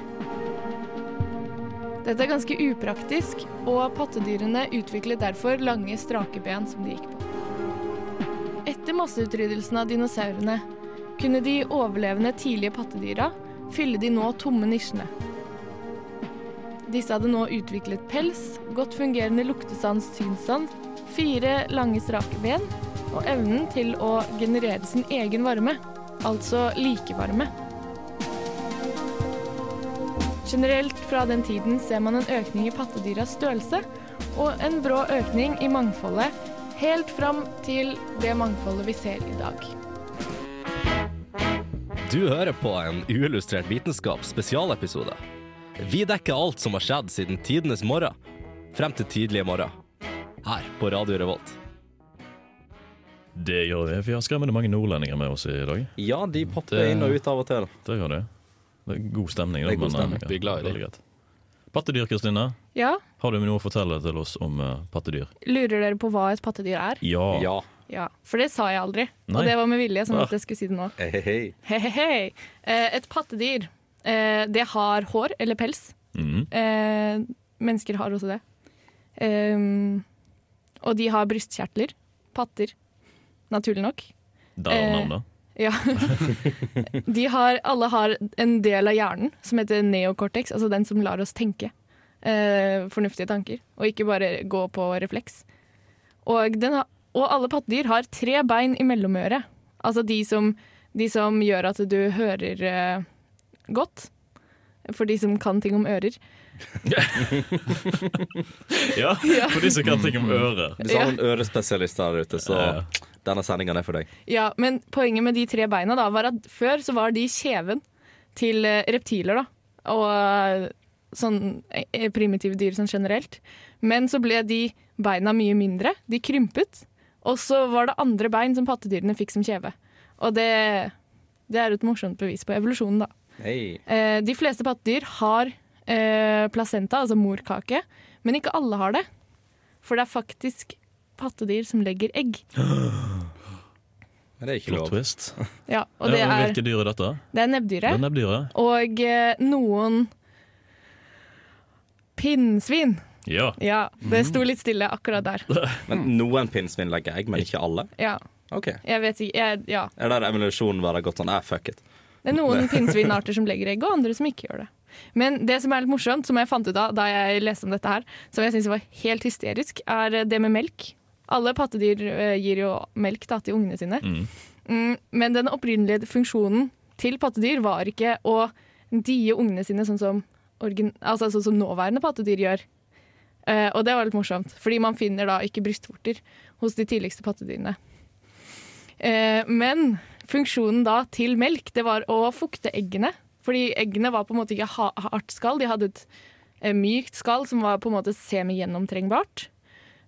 S3: Dette er ganske upraktisk, og pattedyrene utviklet derfor lange, strake ben som de gikk på. Etter masseutryddelsen av dinosaurene kunne de overlevende tidlige pattedyra fylle de nå tomme nisjene. Disse hadde nå utviklet pels, godt fungerende luktesans, synssans, fire lange, strake ben og evnen til å generere sin egen varme, altså likevarme. Generelt fra den tiden ser man en økning i pattedyras størrelse, og en brå økning i mangfoldet, helt fram til det mangfoldet vi ser i dag.
S1: Du hører på en uillustrert vitenskap spesialepisode. Vi dekker alt som har skjedd siden tidenes morgen, frem til tidlige morgen. Her på Radio Revolt.
S2: Det gjør vi. Vi har skremmende mange nordlendinger med oss i dag.
S5: Ja, de popper
S4: Det-
S5: inn og ut av og til.
S2: Det gjør det. Det er god stemning. da,
S5: Det er god
S2: men,
S5: stemning.
S2: eh,
S4: Vi er glad i
S2: veldig greit. Pattedyr, Kristine.
S3: Ja,
S2: Har du noe å fortelle til oss om eh, pattedyr?
S3: lurer dere på hva et pattedyr er?
S2: Ja.
S5: Ja.
S3: Ja, for det sa jeg aldri.
S2: Nei.
S3: Og det var med vilje, sånn
S2: Ah.
S3: at jeg skulle si det nå.
S5: Hei, hei, hei.
S3: Hehehe. Eh, Et pattedyr, eh, det har hår eller pels.
S2: Mhm.
S3: Eh, Mennesker har også det. Ehm, Og de har brystkjertler. Patter. Naturlig nok.
S2: Der er
S3: Eh,
S2: navnet.
S3: Ja. De har, alle har en del av hjernen som heter neocortex, altså den som lar oss tenke eh, fornuftige tanker, og ikke bare gå på refleks. Og, den har, og alle pattedyr har tre bein i mellomøret, altså de som, de som gjør at du hører eh, godt. For de som kan ting om ører.
S2: Ja, for de som kan ting
S5: Mm.
S2: om øret.
S5: Hvis du har noen ørespesialister der ute, så
S2: Ja.
S5: denne sendingen er for deg.
S3: Ja, Men poenget med de tre beina da, var at før så var de kjeven til eh, reptiler, da. Og eh, sånn eh, primitive dyr sånn generelt. Men så ble de beina mye mindre. De krympet. Og så var det andre bein som pattedyrene fikk som kjeve. Og det, det er et morsomt bevis på evolusjonen, da.
S5: Hei.
S3: Eh, de fleste pattedyr har eh, placenta, altså morkake, men ikke alle har det. For det er faktisk pattedyr som legger egg.
S5: Men det er ikke
S2: Plot
S5: lov.
S2: twist.
S3: Ja, og
S2: Ja,
S3: det
S2: men
S3: er,
S2: Hvilke dyr er dette?
S3: det er nebbdyret.
S2: Det er nebbdyret.
S3: Og eh, noen pinnsvin.
S2: Ja.
S3: Ja, det sto litt stille akkurat der.
S5: Men noen pinnsvin legger egg, men ikke alle?
S3: Ja,
S5: OK.
S3: jeg vet ikke jeg, ja.
S5: Er der evolusjonen bare gått sånn? Eh, fuck it.
S3: Det er noen pinnsvinarter som legger egg, og andre som ikke gjør det. Men det som er litt morsomt, som jeg fant ut av da jeg leste om dette her, som jeg syns var helt hysterisk, er det med melk. Alle pattedyr eh, gir jo melk da, til ungene sine.
S2: Mm.
S3: Mm, men den opprinnelige funksjonen til pattedyr var ikke å die ungene sine sånn som, origin altså, sånn som nåværende pattedyr gjør. Eh, og det var litt morsomt, fordi man finner da ikke brystvorter hos de tidligste pattedyrene. Eh, men funksjonen da til melk, det var å fukte eggene. Fordi eggene var på en måte ikke ha- hardt skall, de hadde et eh, mykt skall som var på en måte semigjennomtrengbart.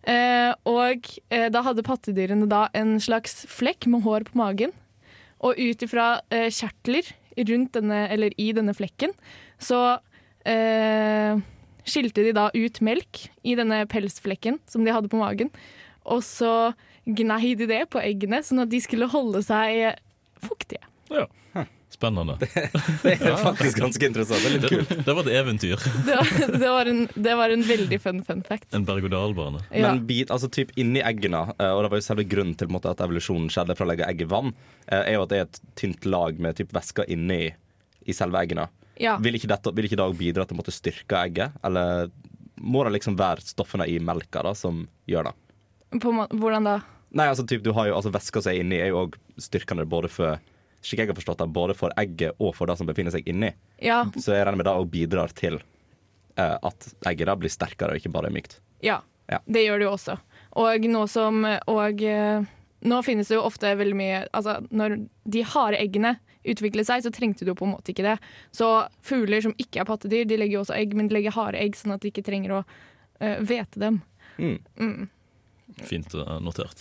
S3: Eh, og eh, da hadde pattedyrene da en slags flekk med hår på magen. Og ut ifra eh, kjertler rundt denne, eller i denne flekken, så eh, skilte de da ut melk i denne pelsflekken som de hadde på magen. Og så gnei de det på eggene, sånn at de skulle holde seg fuktige.
S2: ja. Spennende. Det,
S5: Det er faktisk ganske interessant. Det er litt kult.
S2: det var et eventyr.
S3: Det var, det var, en, det var en veldig fun fun fact.
S2: En berg-og-dal-bane.
S3: Ja.
S5: Men bit, altså typ inni eggene, eh, og det var jo selve grunnen til på en måte, at evolusjonen skjedde fra å legge egg i vann, eh, er jo at det er et tynt lag med typ væsker inni i selve eggene.
S3: Ja.
S5: Vil ikke, dette, vil ikke det også bidra til å måtte styrke egget? Eller må det liksom være stoffene i melka da, som gjør det?
S3: På, ma- hvordan da?
S5: Nei, altså typ, du har jo altså, væska som er inni, er jo òg styrkende både for slik jeg har forstått det, både for egget og for det som befinner seg inni.
S3: Ja,
S5: Så jeg regner med det òg bidrar til eh, at egget da blir sterkere og ikke bare mykt.
S3: ja.
S5: Ja.
S3: Det gjør det jo også. Og nå som Og eh, Nå finnes det jo ofte veldig mye Altså, når de harde eggene utviklet seg, så trengte du jo på en måte ikke det. Så fugler som ikke er pattedyr, de legger jo også egg, men de legger harde egg, sånn at de ikke trenger å eh, hvete dem.
S2: Fint eh, notert.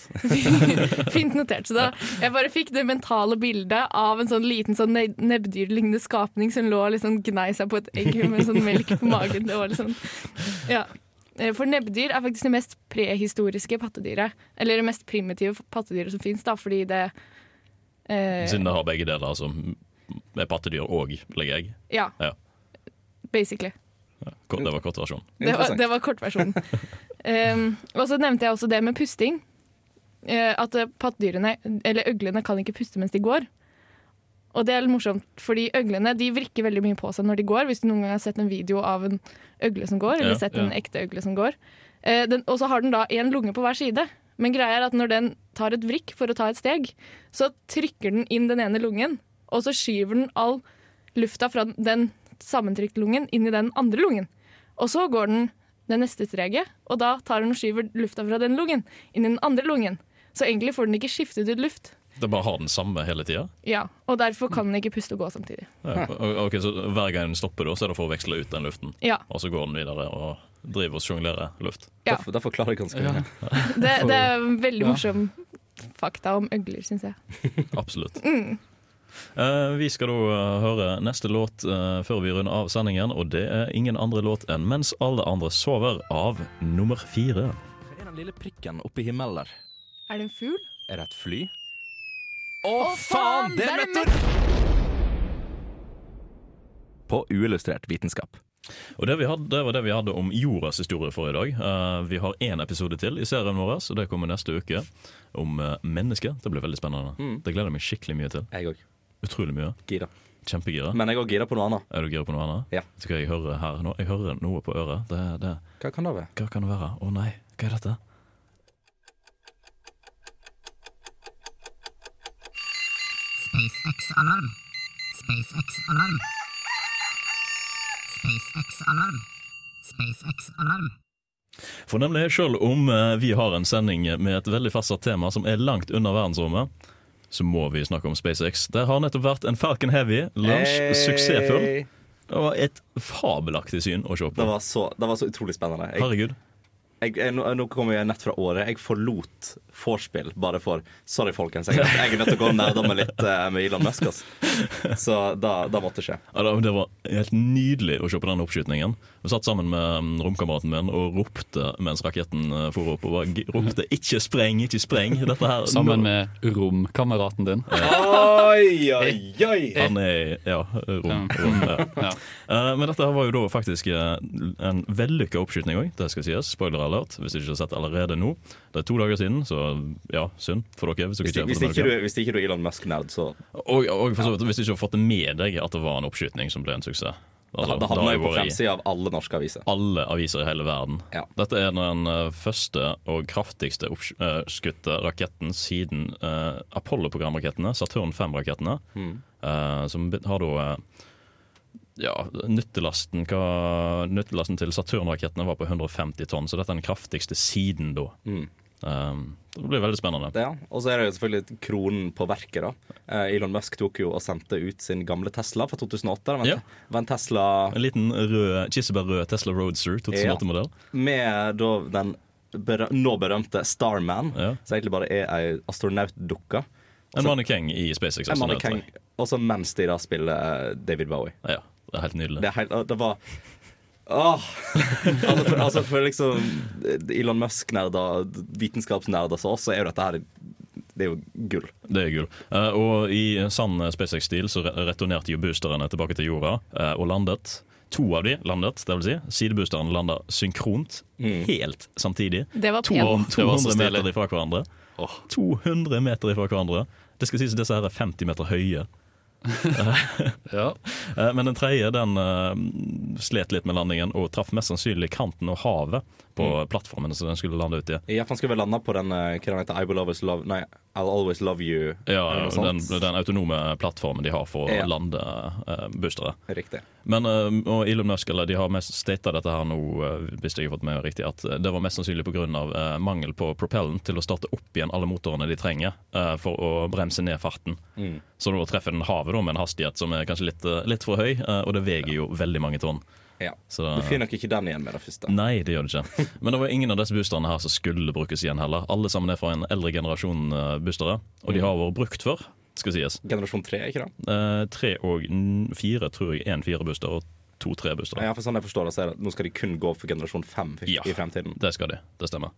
S3: Fint notert. Så da, jeg bare fikk det mentale bildet av en sånn liten sånn ne- nebbdyrlignende skapning som lå og liksom gnei seg på et egg med sånn melk på magen. Det var liksom, ja. Eh, For nebbdyr er faktisk det mest prehistoriske pattedyret. Eller det mest primitive pattedyret som fins, fordi det eh,
S2: Siden det har begge deler, altså med pattedyr og legger egg.
S3: Ja.
S2: Ja.
S3: Basically.
S2: Kort- Det var kort versjon.
S3: Det var, det var kortversjonen. um, og så nevnte jeg også det med pusting. Eh, at eh, pattedyrene, eller øglene, kan ikke puste mens de går. Og det er litt morsomt, fordi øglene de vrikker veldig mye på seg når de går. Hvis du noen gang har sett en video av en øgle som går, eller
S2: Ja,
S3: sett
S2: ja.
S3: en ekte øgle som går. Eh, den, og så har den da én lunge på hver side. Men greia er at når den tar et vrikk for å ta et steg, så trykker den inn den ene lungen, og så skyver den all lufta fra den sammentrykte lungen inn i den andre lungen. Og så går den det neste streget, og da tar den og skyver lufta fra den lungen inn i den andre lungen. Så egentlig får den ikke skiftet ut luft.
S2: Det bare har den samme hele tida.
S3: Ja, Og derfor kan den ikke puste og gå samtidig.
S2: Ja. Ok, Så hver gang den stopper, da, så er det for å veksle ut den luften.
S3: Ja,
S2: Og så går den videre og driver og sjonglerer luft.
S3: ja.
S5: Det forklarer jeg ganske mye.
S3: Det, det er veldig
S4: Ja.
S3: morsom fakta om øgler, syns jeg.
S2: Absolutt. Eh, vi skal da eh, høre neste låt eh, før vi runder av sendingen, og det er ingen andre låt enn 'Mens alle andre sover' av nummer fire.
S5: Hva er den lille prikken oppe i himmelen der?
S3: Er det en fugl?
S5: Er det et fly?
S3: Å, faen! Det er meteor!
S5: På uillustrert vitenskap.
S2: Og det, vi hadde, det var det vi hadde om jordas historie for i dag. Eh, vi har én episode til i serien vår, så det kommer neste uke. Om uh, mennesket. Det blir veldig spennende. Det gleder jeg meg skikkelig mye til.
S5: Jeg òg.
S2: Utrolig mye.
S5: Gira.
S2: Kjempegira.
S5: Men jeg òg gira på noe annet.
S2: Er du gira på noe annet?
S5: Mm. Ja.
S2: Vet du hva jeg hører her nå? Jeg hører noe på øret. Det, det.
S5: Hva kan det være?
S2: Hva kan det være? Å nei, hva er dette?
S7: SpaceX-alarm. SpaceX-alarm. SpaceX-alarm. SpaceX-alarm.
S2: For nemlig, selv om eh, vi har en sending med et veldig fastsatt tema som er langt under verdensrommet, så må vi snakke om SpaceX. Det har nettopp vært en Falcon Heavy. Lunsj.
S5: Eh,
S2: Suksessfull.
S5: Hey.
S2: Det var et fabelaktig syn å se
S5: Det
S2: på.
S5: var så, det var så utrolig spennende. Jeg,
S2: Herregud.
S5: jeg, jeg, nå- nå kommer jeg nett fra året. Jeg forlot vorspiel bare for Sorry, folkens. Jeg, jeg er nødt til å gå og nerde meg litt eh, med Elon Musk. ass. Så da, da måtte det skje.
S2: Ja, det- det var helt nydelig å se på den oppskytningen. Vi satt sammen med mm, romkameraten min og ropte mens raketten eh, for opp. Og bare g- ropte 'ikke spreng, ikke spreng'. Dette her
S4: Sammen
S2: nå-
S4: med romkameraten din.
S5: Oi, oi, oi!
S2: Han er ja, rom. rom ja.
S4: Ja.
S2: Eh, Men dette her var jo da faktisk eh, en vellykka oppskyting òg, det skal sies. Spoiler alert, hvis du ikke har sett allerede nå. Det er to dager siden, så ja, synd for dere. Hvis dere
S5: Hvis,
S2: ikke har
S5: hvis,
S2: fått
S5: ikke
S2: det
S5: du,
S2: med dere.
S5: hvis ikke du er Elon Musk-nerd, så
S2: Og, og for så vidt, hvis du ikke har fått det med deg at det var en oppskyting som ble en suksess.
S5: Ah,
S2: Altså,
S5: da
S2: det har
S5: havner jeg
S2: jo
S5: på
S2: vært i-
S5: fremsida av alle norske aviser.
S2: alle aviser i hele verden.
S5: Ja.
S2: Dette er den eh, første og kraftigste oppskutte raketten siden eh, Apollo-programrakettene, Saturn 5-rakettene,
S5: Mm.
S2: eh, som be- har da eh, ja, nyttelasten, hva, nyttelasten til Saturn-rakettene var på 150 tonn, så dette er den kraftigste siden da.
S5: Mm.
S2: Eh, det blir veldig spennende.
S5: Det, ja. Og så er det jo selvfølgelig kronen på verket. da eh, Elon Musk tok jo og sendte ut sin gamle Tesla fra 2008. Da, vent,
S2: Ja.
S5: var en Tesla
S2: En liten rød, kirsebærrød Tesla Roadster 2008-modell.
S5: med da den ber nå berømte Starman,
S2: Ja.
S5: som egentlig bare er ei astronautdukke.
S2: En mannekeng i SpaceX.
S5: En
S2: astronauter.
S5: mannekeng. Og så mens de da spiller eh, David Bowie.
S2: Ja, det er helt nydelig.
S5: Det, er helt, det var Åh! altså, for, altså for liksom Elon Musk-nerder, vitenskapsnerder som oss, så er jo dette her Det er jo gull.
S2: Det er gull. Eh, og i sann SpaceX-stil så re- returnerte jo boosterne tilbake til jorda eh, og landet. To av de landet, det vil si. Sideboosteren landa synkront helt samtidig.
S3: Det var
S2: To-
S3: pent.
S2: 200 meter ifra hverandre. 200 meter ifra hverandre. Det skal sies at disse her er 50 meter høye.
S4: Ja.
S2: Eh, Men den tredje den eh, slet litt med landingen og traff mest sannsynlig kanten og havet på plattformen som den skulle lande ut i.
S5: Ja, for han skulle vel landa på den eh, hva den heter I will always love Nei, I'll always love you. eller
S2: Ja,
S5: noe
S2: den,
S5: sånt.
S2: den autonome plattformen de har for
S5: Ja.
S2: å lande uh, boostere.
S5: Riktig.
S2: Men eh, og Elon Musk eller, de har mest stata dette her nå, eh, hvis jeg har fått med meg riktig, at eh, det var mest sannsynlig pga. Uh, mangel på propellen til å starte opp igjen alle motorene de trenger eh, for å bremse ned farten. Så da treffer den havet da, med en hastighet som er kanskje litt, eh, litt for høy, eh, og det veier jo veldig mange tonn.
S5: Ja.
S2: Så
S5: Du finner nok ikke den igjen med det første.
S2: Nei, det gjør det ikke. Men det var ingen av disse boosterne her som skulle brukes igjen heller. Alle sammen er fra en eldre generasjon eh, boostere, og de har vært brukt før. skal sies.
S5: Generasjon tre, ikke det?
S2: Eh, tre og n- fire, tror jeg. Én fire-booster og to tre-boostere.
S5: Ja, for sånn jeg forstår det, så er det at nå skal de kun gå for generasjon fem i,
S2: Ja.
S5: i fremtiden.
S2: Det skal de. Det stemmer.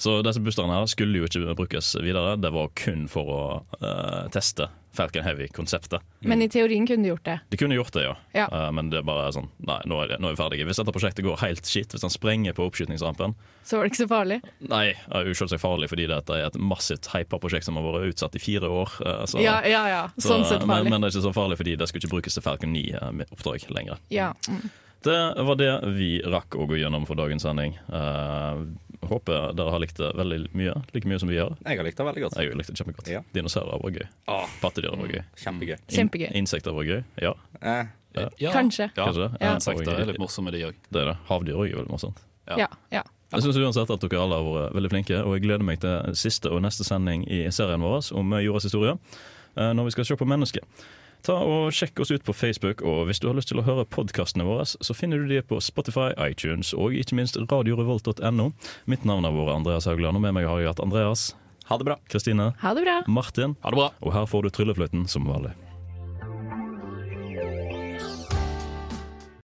S2: Så disse boosterne her skulle jo ikke brukes videre. Det var kun for å eh, teste Falcon Heavy-konseptet.
S3: Men i teorien kunne du gjort det.
S2: De kunne gjort det, ja.
S3: Ja.
S2: Eh, men det er bare sånn Nei, nå er, det, nå er vi ferdige. Hvis dette prosjektet går helt shit, hvis han sprenger på oppskytingsrampen,
S3: Så var det ikke så farlig.
S2: Nei, det er jo selvsagt farlig fordi dette er et massivt hypa prosjekt som har vært utsatt i fire år. eh, Så,
S3: Ja, ja, ja.
S2: så- eh,
S3: Sånn sett
S2: Men,
S3: farlig.
S2: men det er ikke så farlig fordi det skulle ikke brukes til Falcon 9-oppdrag lenger.
S3: Ja. Mm.
S2: Det var det vi rakk å gå gjennom for dagens sending. Eh, håper dere har likt det veldig mye, like mye som vi gjør.
S5: Jeg har likt det veldig godt.
S2: Jeg likte det kjempegodt.
S5: Ja.
S2: Dinosaurer var gøy. Pattedyr var gøy.
S5: Kjempegøy.
S2: In
S3: Kjempegøy.
S2: insekter var gøy. Ja,
S5: Eh,
S4: Ja.
S3: Kanskje.
S4: Ja.
S2: Kanskje.
S4: Ja.
S2: Ja.
S4: Insekter er litt morsomme, de òg.
S2: det er det. Havdyr òg er veldig morsomt.
S3: Ja, ja.
S2: Jeg synes uansett at dere alle har vært veldig flinke, og jeg gleder meg til siste og neste sending i serien vår om jordas historie, eh, når vi skal se på mennesket. Ta og Sjekk oss ut på Facebook, og hvis du har lyst til å høre podkastene våre, så finner du de på Spotify, iTunes og ikke minst radiorevolt.no. Mitt navn har vært Andreas Haugland, og med meg har jeg hatt Andreas,
S5: ha det bra.
S2: Kristine,
S3: Ha det bra.
S2: Martin,
S4: Ha det bra.
S2: og her får du tryllefløyten som vanlig.